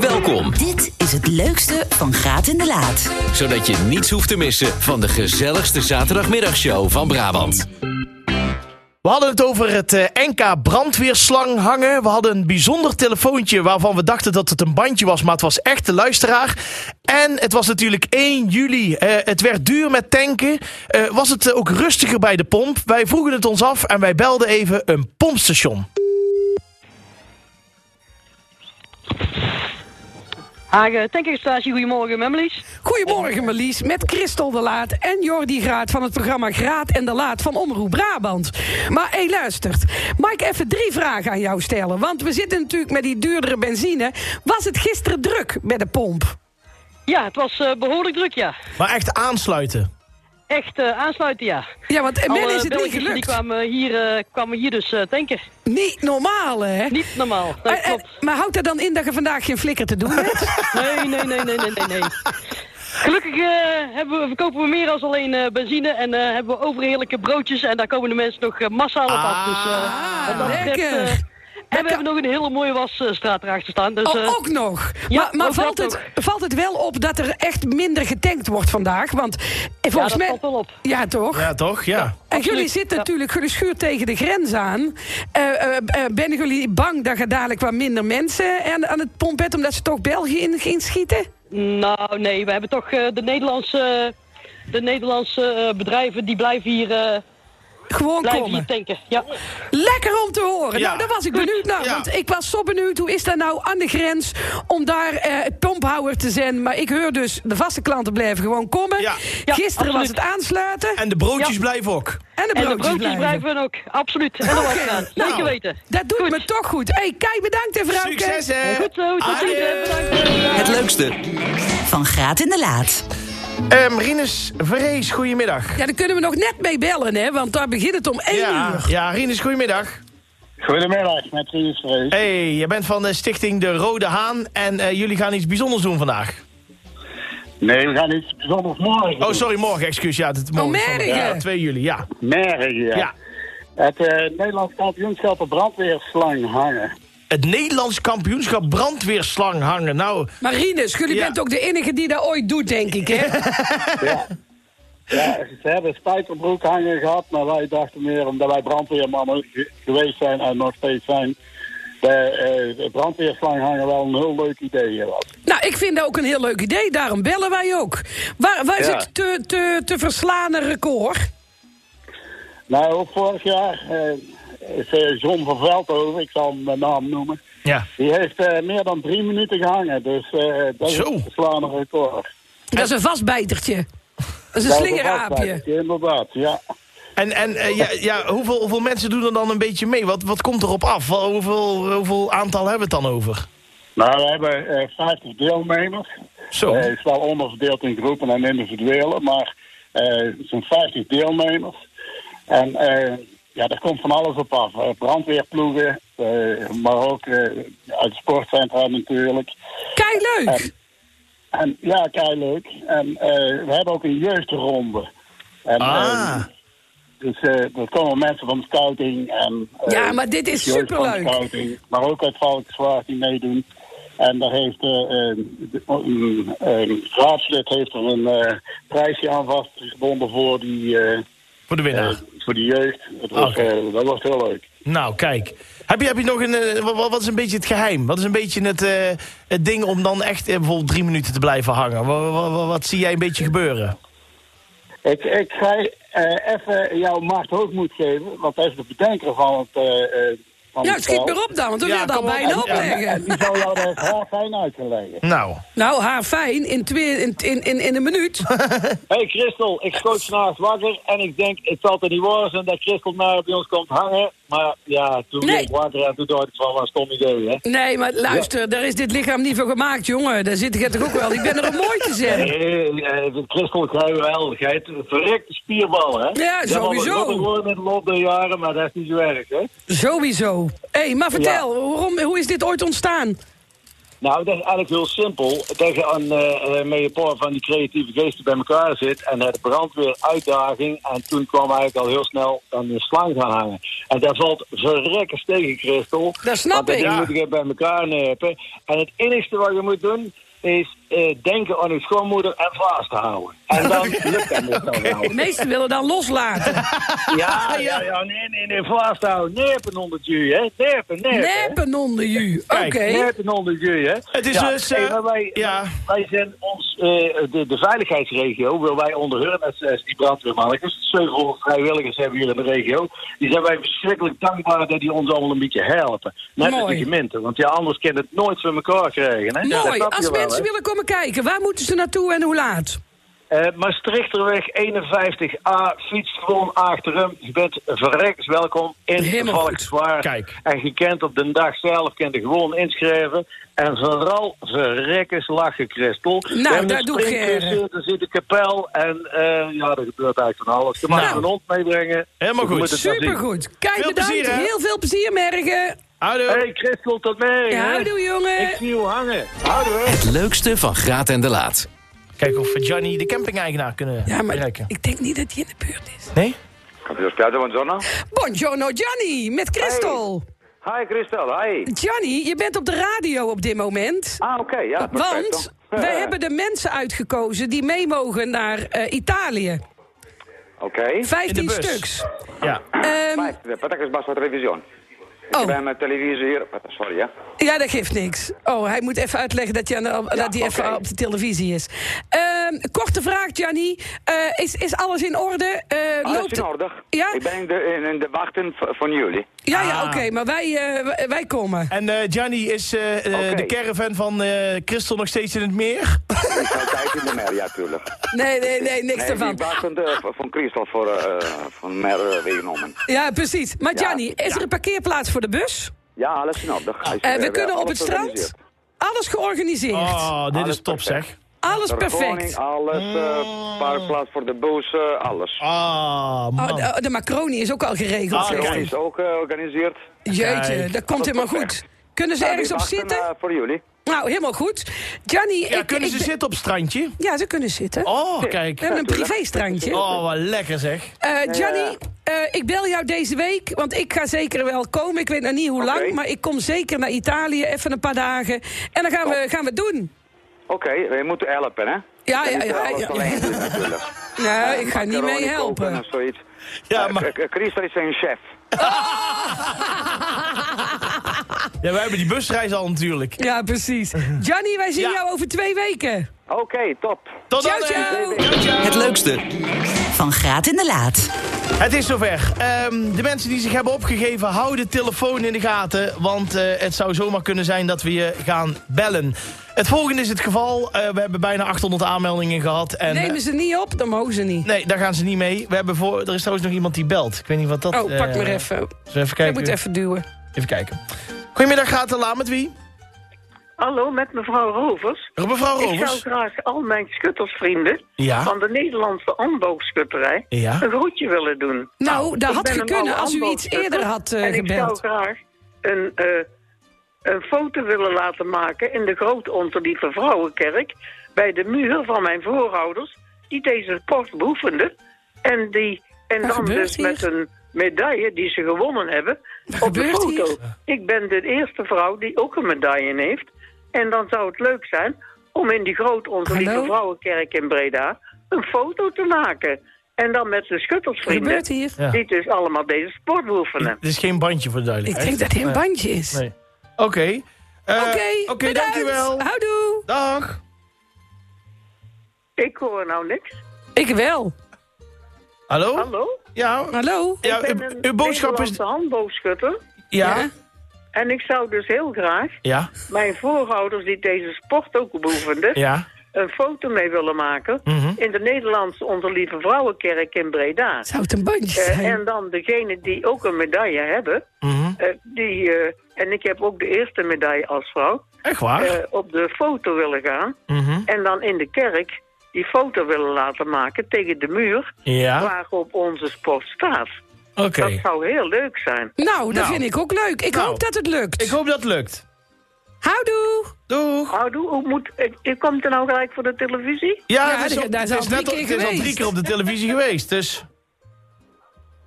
Welkom, Dit is het leukste van Graat in de Laat. zodat je niets hoeft te missen van de gezelligste zaterdagmiddagshow van Brabant. We hadden het over het eh, NK brandweerslang hangen. We hadden een bijzonder telefoontje waarvan we dachten dat het een bandje was, maar het was echt de luisteraar. En het was natuurlijk 1 juli. Eh, het werd duur met tanken. Eh, was het eh, ook rustiger bij de pomp? Wij vroegen het ons af en wij belden even een pompstation. Hagen, tankingstage, eh, goedemorgen, Memlies. Goedemorgen Marlies, met Christel de Laat en Jordi Graat van het programma Graat en de Laat van Omroep Brabant. Maar hé, luistert, mag ik even drie vragen aan jou stellen? Want we zitten natuurlijk met die duurdere benzine. Was het gisteren druk bij de pomp? Ja, het was eh, behoorlijk druk, ja. Maar echt aansluiten. Echt eh, aansluiten, ja. Ja, want en Alle men is het niet Belgische Die gelukt. kwamen hier, eh, kwamen hier dus eh, tanken. Niet normaal, hè? Niet normaal, dat En- en- klopt. maar houdt dat dan in dat je vandaag geen flikker te doen hebt? Nee, nee, nee, nee, nee, nee, nee. Gelukkig eh, hebben we, verkopen we meer dan alleen eh, benzine en eh, hebben we overheerlijke broodjes. En daar komen de mensen nog eh, massaal op af. Ah. Dus, eh, wat dat betreft, Ah, lekker. eh, en we hebben nog een hele mooie wasstraat erachter staan. Dus, Oh, eh, ook nog. ja, maar maar ook dat valt, het, nog. valt het wel op dat er echt minder getankt wordt vandaag? Want eh, volgens dat mij. valt wel op. Ja, toch? Ja, toch? Ja. En Absoluut, jullie zitten ja. natuurlijk, jullie schuurt tegen de grens aan. Eh, eh, eh, ben jullie bang dat je dadelijk wat minder mensen aan, aan het pomp hebt... omdat ze toch België in gaan schieten? Nou, nee, we hebben toch eh, de Nederlandse, eh, de Nederlandse eh, bedrijven die blijven hier, eh, Gewoon blijven komen. hier tanken. Ja. Lekker om te horen. Ja. Nou, daar was ik benieuwd naar. Ja. Want ik was zo benieuwd, hoe is dat nou aan de grens... om daar eh, het pomphouwer te zijn. Maar ik hoor dus, de vaste klanten blijven gewoon komen. Ja. Ja, Gisteren was absoluut. het aansluiten en, En de broodjes Ja. blijven ook. de En broodjes, de broodjes blijven. blijven ook, absoluut. En de wasstraat, nou. zeker weten. Dat doet Goed. me toch goed. hey, Kai, bedankt en vrouwke. Succes, hè? Goed zo, tot Adieu. ziens. hè. Bedankt. Het leukste, Van Graat in de Laat. Ehm, Rinus Vrees, goedemiddag. Ja, daar kunnen we nog net mee bellen, hè? Want daar begint het om één Ja, uur. ja, Rinus, goedemiddag. Goedemiddag, met Rinus Vrees. hey, je bent van de stichting De Rode Haan en eh, jullie gaan iets bijzonders doen vandaag. Nee, we gaan iets bijzonders morgen. Oh, doen. sorry, morgen, excuus. Ja, het morgen. Oh, morgen. Ja, 2 juli, ja. Morgen, ja. ja. Het eh, Nederlands kampioenschap op brandweerslang hangen. Het Nederlands kampioenschap brandweerslang hangen. Nou, Marines, jullie Ja. bent ook de enige die dat ooit doet, denk ik, hè? Ja, ze hebben spijkerbroek hangen gehad, maar wij dachten meer omdat wij brandweermannen ge- geweest zijn en nog steeds zijn. De eh brandweerslang hangen wel een heel leuk idee was. nou, ik vind dat ook een heel leuk idee. Daarom bellen wij ook. Waar, waar is Ja. het te, te, te verslaan record? Nou, ook vorig jaar eh, is eh, John van Veldhoven, ik zal mijn naam noemen, ja. die heeft eh, meer dan drie minuten gehangen. Dus eh, dat is Zo. een verslaande record. Dat is een vastbijtertje. Dat is een Dat is slingeraapje. vastbijtertje, Inderdaad, ja. En, en eh, ja, ja, hoeveel, hoeveel mensen doen er dan een beetje mee? Wat, wat komt erop af? Wel, Hoeveel, hoeveel aantal hebben we het dan over? Nou, we hebben eh 50 deelnemers. Zo. Eh, het is wel onderverdeeld in groepen en individuele, maar eh, zo'n 50 deelnemers. En eh, ja, daar komt van alles op af. Eh, brandweerploegen, eh, maar ook eh, uit sportcentra natuurlijk. Kei leuk. En ja, kei leuk. En eh, we hebben ook een jeugdronde. En, Ah. eh, dus eh er komen mensen van scouting en... eh, Ja, maar dit is jeugd van superleuk. scouting, maar ook uit Valkenswaard die meedoen. En daar heeft eh, eh, de- een een raadslid heeft er een eh, prijsje aan vastgebonden voor die, eh, Voor de winnaar. eh, voor die jeugd. Dat was, Oké. eh, dat was heel leuk. Nou, kijk. Heb je, heb je nog een. eh, wa- wa- wat, is een beetje het geheim? Wat is een beetje het, eh, het ding om dan echt eh, bijvoorbeeld drie minuten te blijven hangen? Wa- wa- wa- Wat, zie jij een beetje gebeuren? Ik, ik ga eh, even jouw macht hoogmoed geven, want hij is de bedenker van het... eh, eh, van Nou, het schiet spel. maar op dan, want we Ja, willen dat kom op. bijna Ja. opleggen. En die zal jou dat heel fijn uitleggen. Nou, Nou, haar fijn in, twee, in, in, in, in een minuut. Hey Christel, ik schoot vanavond wakker en ik denk, het zal er niet worden dat Christel nou bij ons komt hangen. Maar ja, toen Nee. werd ik wakker en toen dacht ik van, wat een stom idee, hè? Nee, maar luister, daar is dit lichaam niet voor gemaakt, jongen. Daar zit ik toch ook wel. Ik ben er om mooi te zijn. Nee, eh, Christel, jij wel. Jij hebt een verrekte spierbal, hè? Ja, Jij mag wel sowieso. groter worden in de loop der jaren, maar dat is niet zo erg, hè? Sowieso. Hé, hey, maar vertel, waarom, hoe is dit ooit ontstaan? Nou, dat is eigenlijk heel simpel. Tegen een eh, eh, met een paar van die creatieve geesten bij elkaar zit en het brandweer uitdaging. En toen kwam eigenlijk al heel snel aan de slang gaan hangen. En daar valt verrekkers tegen, Christel. Dat snap Want ik. ding Ja. moet je bij elkaar nepen. En het enigste wat je moet doen is eh, denken aan je schoonmoeder en vasthouden. En dan lukt dat meestal wel. De meesten willen dan loslaten. Ja, ja, ja, nee, nee, nee, vasthouden. Nepen onder het jus, hè. Nepen, nepen. hè. Neppen onder u. Oké. Kijk, Merken onder je, hè? Het is dus, hey, eh, maar wij, ja. wij zijn ons, eh, de, de veiligheidsregio, wil wij onder hun, dat is die brandweermannetjes, 700 vrijwilligers hebben hier in de regio, die zijn wij verschrikkelijk dankbaar dat die ons allemaal een beetje helpen. Net als de Mooi. gemeente, want ja, anders kan het nooit voor elkaar krijgen. Hè? Dat Mooi. snap je Als wel, mensen hè? willen komen kijken, waar moeten ze naartoe en hoe laat? Eh, Maastrichterweg 51A, fiets gewoon achter hem. Je bent verreks welkom in Helemaal goed. Valkswaard. Kijk. En je kent op de dag zelf, kent je gewoon inschrijven. En vooral verrekkers lachen, Christel. Nou, We hebben daar een doe ik, eh, springkussen, Er zit een kapel en eh, ja, er gebeurt eigenlijk van alles. Je mag Nou. een hond meebrengen. Helemaal Je goed. moet het dan zien. Supergoed. Kijk, Veel bedankt. plezier, hè? Heel veel plezier morgen. Houdoe. Hey Christel, tot mee. Ja, hè. houdoe, jongen. Ik zie jou hangen. Houdoe. hè. Het leukste van Graat en de Laat. Kijken of we Gianni de camping-eigenaar kunnen Ja, maar bereiken. ik denk niet dat hij in de buurt is. Nee? Capitano, buongiorno. Buongiorno Gianni, met Christel. Hi Christel, hi. Gianni, je bent op de radio op dit moment. Ah, oké, ja. perfect. Eh, Want wij hebben de mensen uitgekozen die mee mogen naar eh, Italië. Oké. 15 bus. stuks. Ja. Ehm, Maar aspetta che sbasso la televisione. Ik oh, ben mijn televisie hier. Aspetta, Sorry, hè. ja, dat geeft niks. Oh, hij moet even uitleggen dat hij, aan de- dat hij even oké. op de televisie is. Ehm, korte vraag, Gianni. Eh, is, is alles in orde? Eh, Alles loopt- in orde. Ja? Ik ben in de, in, in de wachten v- van jullie. Ja, ja, Ah. oké, maar wij, eh, wij- wij komen. En eh, Gianni, is eh, eh, Oké. de caravan van eh Christel nog steeds in het meer? Ik zal kijken in de mer, ja, tuurlijk. Nee, nee, nee, niks Nee, ervan. die wachten de- van Christel voor, eh, van mer eh, weggenomen. Ja, precies. Maar Ja, Gianni, is er ja. een parkeerplaats voor de bus? Ja, alles in orde. Hij is- Eh, we hebben kunnen op alles het strand. georganiseerd. Alles georganiseerd. Oh, ah, dit Alles is top perfect. zeg. Alles De koning, perfect. alles, eh, parkplaats voor de bus, eh, alles. Ah, man. Oh, de, oh, de macaroni is ook al geregeld. Ah, zeg. kijk. Corona is ook eh, georganiseerd. Eh, Jeetje, Kijk. dat komt helemaal goed. Kunnen ze Nou, ergens op zitten? voor jullie. Nou, helemaal goed. Gianni, ja, ik, kunnen ik ze ben- zitten op het strandje? Ja, ze kunnen zitten. Oh, We kijk. hebben een tuurlijk. privéstrandje. Oh, wat lekker zeg. Eh, Gianni, ja. eh, ik bel jou deze week, want ik ga zeker wel komen. Ik weet nog niet hoe Oké. lang, maar ik kom zeker naar Italië, even een paar dagen. En dan gaan we, gaan we het doen. Oké, we moeten helpen, hè? Ja, ja, Niet, eh, ja, alles ja. alleen doen, natuurlijk. Nee, ik ga niet Macaroni mee koken helpen. of zoiets. Ja, Eh, maar- K- K- Christel is zijn chef. Ja, wij hebben die busreis al natuurlijk. Ja, precies. Gianni, wij zien Ja. jou over twee weken. Oké, top. Tot dan. eh. Ciao, hè. ciao. Het leukste Van Graat in de Laat. Het is zover. Ehm, de mensen die zich hebben opgegeven, hou de telefoon in de gaten. Want eh, het zou zomaar kunnen zijn dat we je gaan bellen. Het volgende is het geval. Eh, we hebben bijna 800 aanmeldingen gehad. En, eh, Nemen ze niet op, dan mogen ze niet. Nee, daar gaan ze niet mee. We hebben voor, er is trouwens nog iemand die belt. Ik weet niet wat dat... Oh, pak eh, maar even. zullen we even Ik kijken. moet even duwen. Even kijken. Goedemiddag, gaat de laan met wie? Hallo, met mevrouw Rovers. Mevrouw Ik zou Rovers. graag al mijn schuttersvrienden Ja. van de Nederlandse amboogschutterij Ja. een groetje willen doen. Nou, dat Ik had ben een gekunnen oude als u iets amboogsschutter eerder had eh, en gebeld. Ik zou graag een, eh, een foto willen laten maken in de Groot Onterlieve Vrouwenkerk bij de muur van mijn voorouders, die deze post beoefenden. En, die, en Wat dan gebeurt dus hier? met een medaille die ze gewonnen hebben op de gebeurt foto. hier? Ik ben de eerste vrouw die ook een medaille heeft. En dan zou het leuk zijn om in die Groot Onterlieve Hallo? Vrouwenkerk in Breda een foto te maken. En dan met de Wat schuttersvrienden. gebeurt hier? Ja. Die dus allemaal deze sport beoefenen. Dit is geen bandje voor de Ik duidelijkheid. denk dat hij een bandje is. Nee. Oké. Eh, Oké, Oké, bedankt. dankjewel. Houdoe. Dag. Ik hoor nou niks. Ik wel. Hallo? Hallo? Ja, Hallo. Oh. ja ik uw, ben een uw boodschap is... Nederlandse handboogschutter. Ja? En ik zou dus heel graag Ja. mijn voorouders die deze sport ook beoefenden... Ja. Mhm. een foto mee willen maken in de Nederlandse Onze Lieve Vrouwenkerk in Breda. Zou het een bandje Eh, zijn? en dan degene die ook een medaille hebben. Mhm. eh, die, eh, en ik heb ook de eerste medaille als vrouw. Echt waar? eh, op de foto willen gaan. Mhm. En dan in de kerk die foto willen laten maken tegen de muur Eh, ja. waarop onze sport staat. Oké. Dat zou heel leuk zijn. Nou, dat Nou. vind ik ook leuk. Ik Nou. hoop dat het lukt. Ik hoop dat het lukt. Houdoe. Doei. Houdoe, hoe moet, eh, u komt er nou gelijk voor de televisie? Ja, Ja, het is, die- al- daar is het al is drie net al, keer het is al drie geweest. keer op de televisie geweest. Dus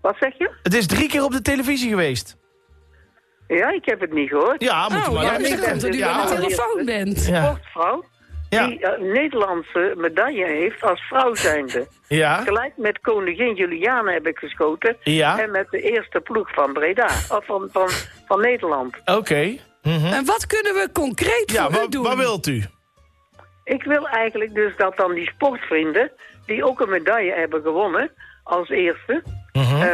Wat zeg je? het is drie keer op de televisie geweest. Ja, ik heb het niet gehoord. Ja, moet je Oh, maar ja, luisteren. dat komt er nu Ja. aan de telefoon bent. Ja. Sportvrouw, Ja. die eh, Nederlandse medaille heeft als vrouw zijnde. Ja. Gelijk met koningin Juliana heb ik geschoten. Ah. Ja. En met de eerste ploeg van Breda. Of van, van, van Nederland. Oké. En wat kunnen we concreet Ja, voor u wat, doen? wat wilt u? Ik wil eigenlijk dus dat dan die sportvrienden, die ook een medaille hebben gewonnen als eerste, Mhm. eh,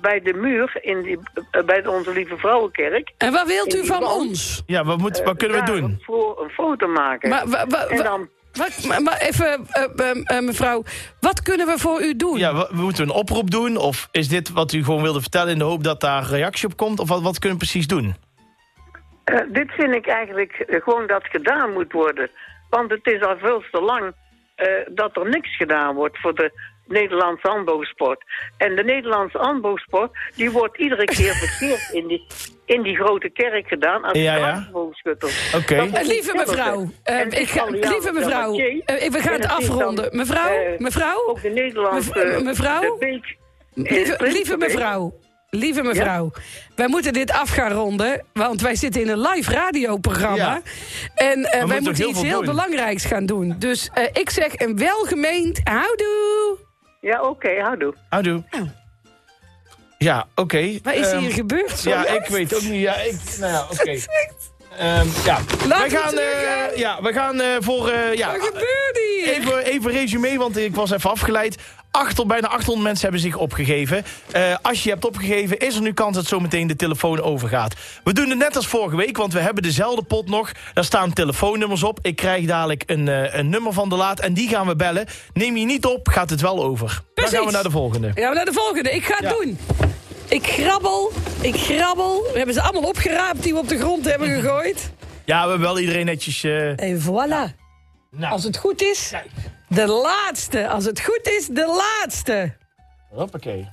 bij de muur in die, eh, bij onze Lieve Vrouwenkerk. En wat wilt u die van band. ons? Ja, wat, moet, Eh, wat kunnen we daar doen? Een, fo- een foto maken. Maar, wa- wa- en wa- dan, wat- maar- maar even, eh, eh, eh, mevrouw, wat kunnen we voor u doen? Ja, wat, moeten we een oproep doen? Of is dit wat u gewoon wilde vertellen in de hoop dat daar reactie op komt? Of wat, wat kunnen we precies doen? eh, dit vind ik eigenlijk eh, gewoon dat gedaan moet worden. Want het is al veel te lang eh, dat er niks gedaan wordt voor de Nederlandse handboogsport. En de Nederlandse handboogsport, die wordt iedere keer verkeerd in die, in die grote kerk gedaan aan de Ja, ja, ja. handboogschutters. Oké. Dat is Eh, Lieve hetzelfde. mevrouw, eh, En ik ga, Italiaans, lieve mevrouw, Dalmatier, eh, ik- we gaan en het dat is dan, afronden. Mevrouw, eh, mevrouw, Ook de Nederlandse... Mev- eh, mevrouw? De Beek, eh, lieve, Prins lieve de Beek. mevrouw, lieve mevrouw, wij moeten dit af gaan ronden, want wij zitten in een live radioprogramma Ja. en eh, wij moeten moeten heel iets veel heel doen. belangrijks gaan doen. Dus eh, ik zeg een welgemeend houdoe. Ja, oké, houdoe. Houdoe. Ja, oké. Wat is Ehm, hier gebeurd? Ja, Sorry. ik weet ook niet. Ja, ik, nou ja, oké. Ehm, ja. We Laten we gaan, teruggaan. eh, ja, we gaan eh, voor... eh, ja, Wat gebeurt hier? even, even resume, want ik was even afgeleid. Achter, bijna 800 mensen hebben zich opgegeven. Eh, als je hebt opgegeven, is er nu kans dat zometeen de telefoon overgaat. We doen het net als vorige week, want we hebben dezelfde pot nog. Daar staan telefoonnummers op. Ik krijg dadelijk een, eh, een nummer van de laat en die gaan we bellen. Neem je niet op, gaat het wel over. Dan gaan we Precies. naar de volgende. Ja, maar naar de volgende. Ik ga het Ja. doen. Ik grabbel, ik grabbel. We hebben ze allemaal opgeraapt die we op de grond hebben gegooid. Ja, we hebben wel iedereen netjes... eh, En voilà. nou. Als het goed is, de laatste. Als het goed is, de laatste. Hoppakee.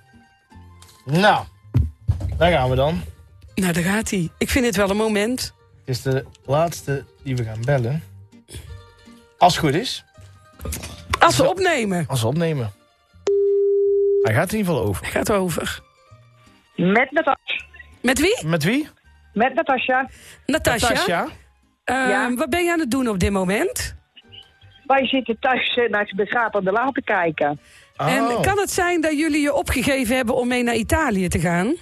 Nou, daar gaan we dan. Nou, daar gaat hij. Ik vind het wel een moment. Het is de laatste die we gaan bellen. Als het goed is. Als we opnemen. Als we opnemen. Hij gaat in ieder geval over. Gaat over. Met, Natas Met wie? Met wie? met Natasja. Natasja. Tasja. Ehm, Ja. Wat ben je aan het doen op dit moment? Wij zitten thuis eh, naar de gapende laat te kijken. Oh. En kan het zijn dat jullie je opgegeven hebben om mee naar Italië te gaan?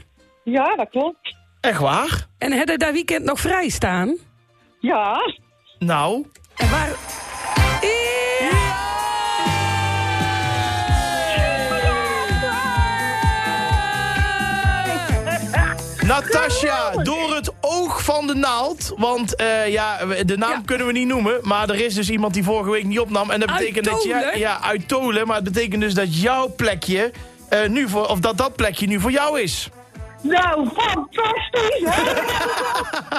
Ja, dat klopt. Echt waar? En hebben dat weekend nog vrij staan? Ja. Nou. En waar... Natasja, door het oog van de naald. Want eh, ja, we- de naam Ja. kunnen we niet noemen. Maar er is dus iemand die vorige week niet opnam. En dat Uit betekent dat jij. Tolen? Ja, uit Tolen. Maar het betekent dus dat jouw plekje. eh, nu voor, of dat dat plekje nu voor jou is. Nou, fantastisch! hè?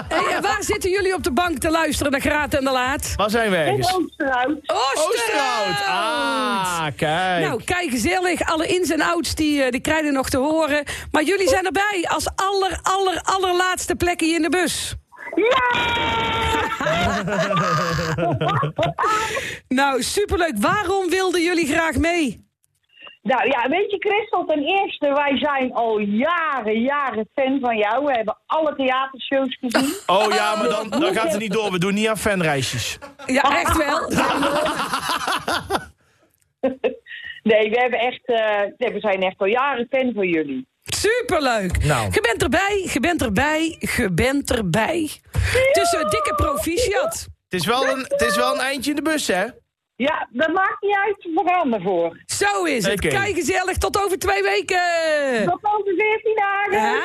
Hey, en waar zitten jullie op de bank te luisteren naar Graat en de Laat? Waar zijn we ergens? Oosterhout. Oosterhout! Oosterhout. Ah, kijk. Nou, kijk gezellig. Alle ins en outs die, eh, die krijgen nog te horen. Maar jullie zijn erbij als aller, aller, allerlaatste plekje in de bus. Nou, superleuk. Waarom wilden jullie graag mee? Nou ja, weet je, Christel, ten eerste, wij zijn al jaren, jaren fan van jou. We hebben alle theatershows gezien. Oh ja, maar dan, dan gaat het niet door. We doen niet aan fanreisjes. Ja, echt wel. Nee, we, hebben echt, eh, nee, we zijn echt al jaren fan van jullie. Superleuk. Nou. Je bent erbij, je bent erbij, je bent erbij. Tussen dikke proficiat. Het is wel een, het is wel een eindje in de bus, hè? Ja, dat maakt niet uit. We gaan ervoor. Zo is het. Oké. Kijk gezellig. Tot over twee weken. Tot over 14 dagen.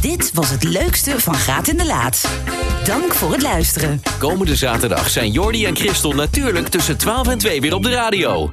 Dit was het leukste van Graat in de Laat. Dank voor het luisteren. Komende zaterdag zijn Jordi en Christel natuurlijk tussen 12 en 2 weer op de radio.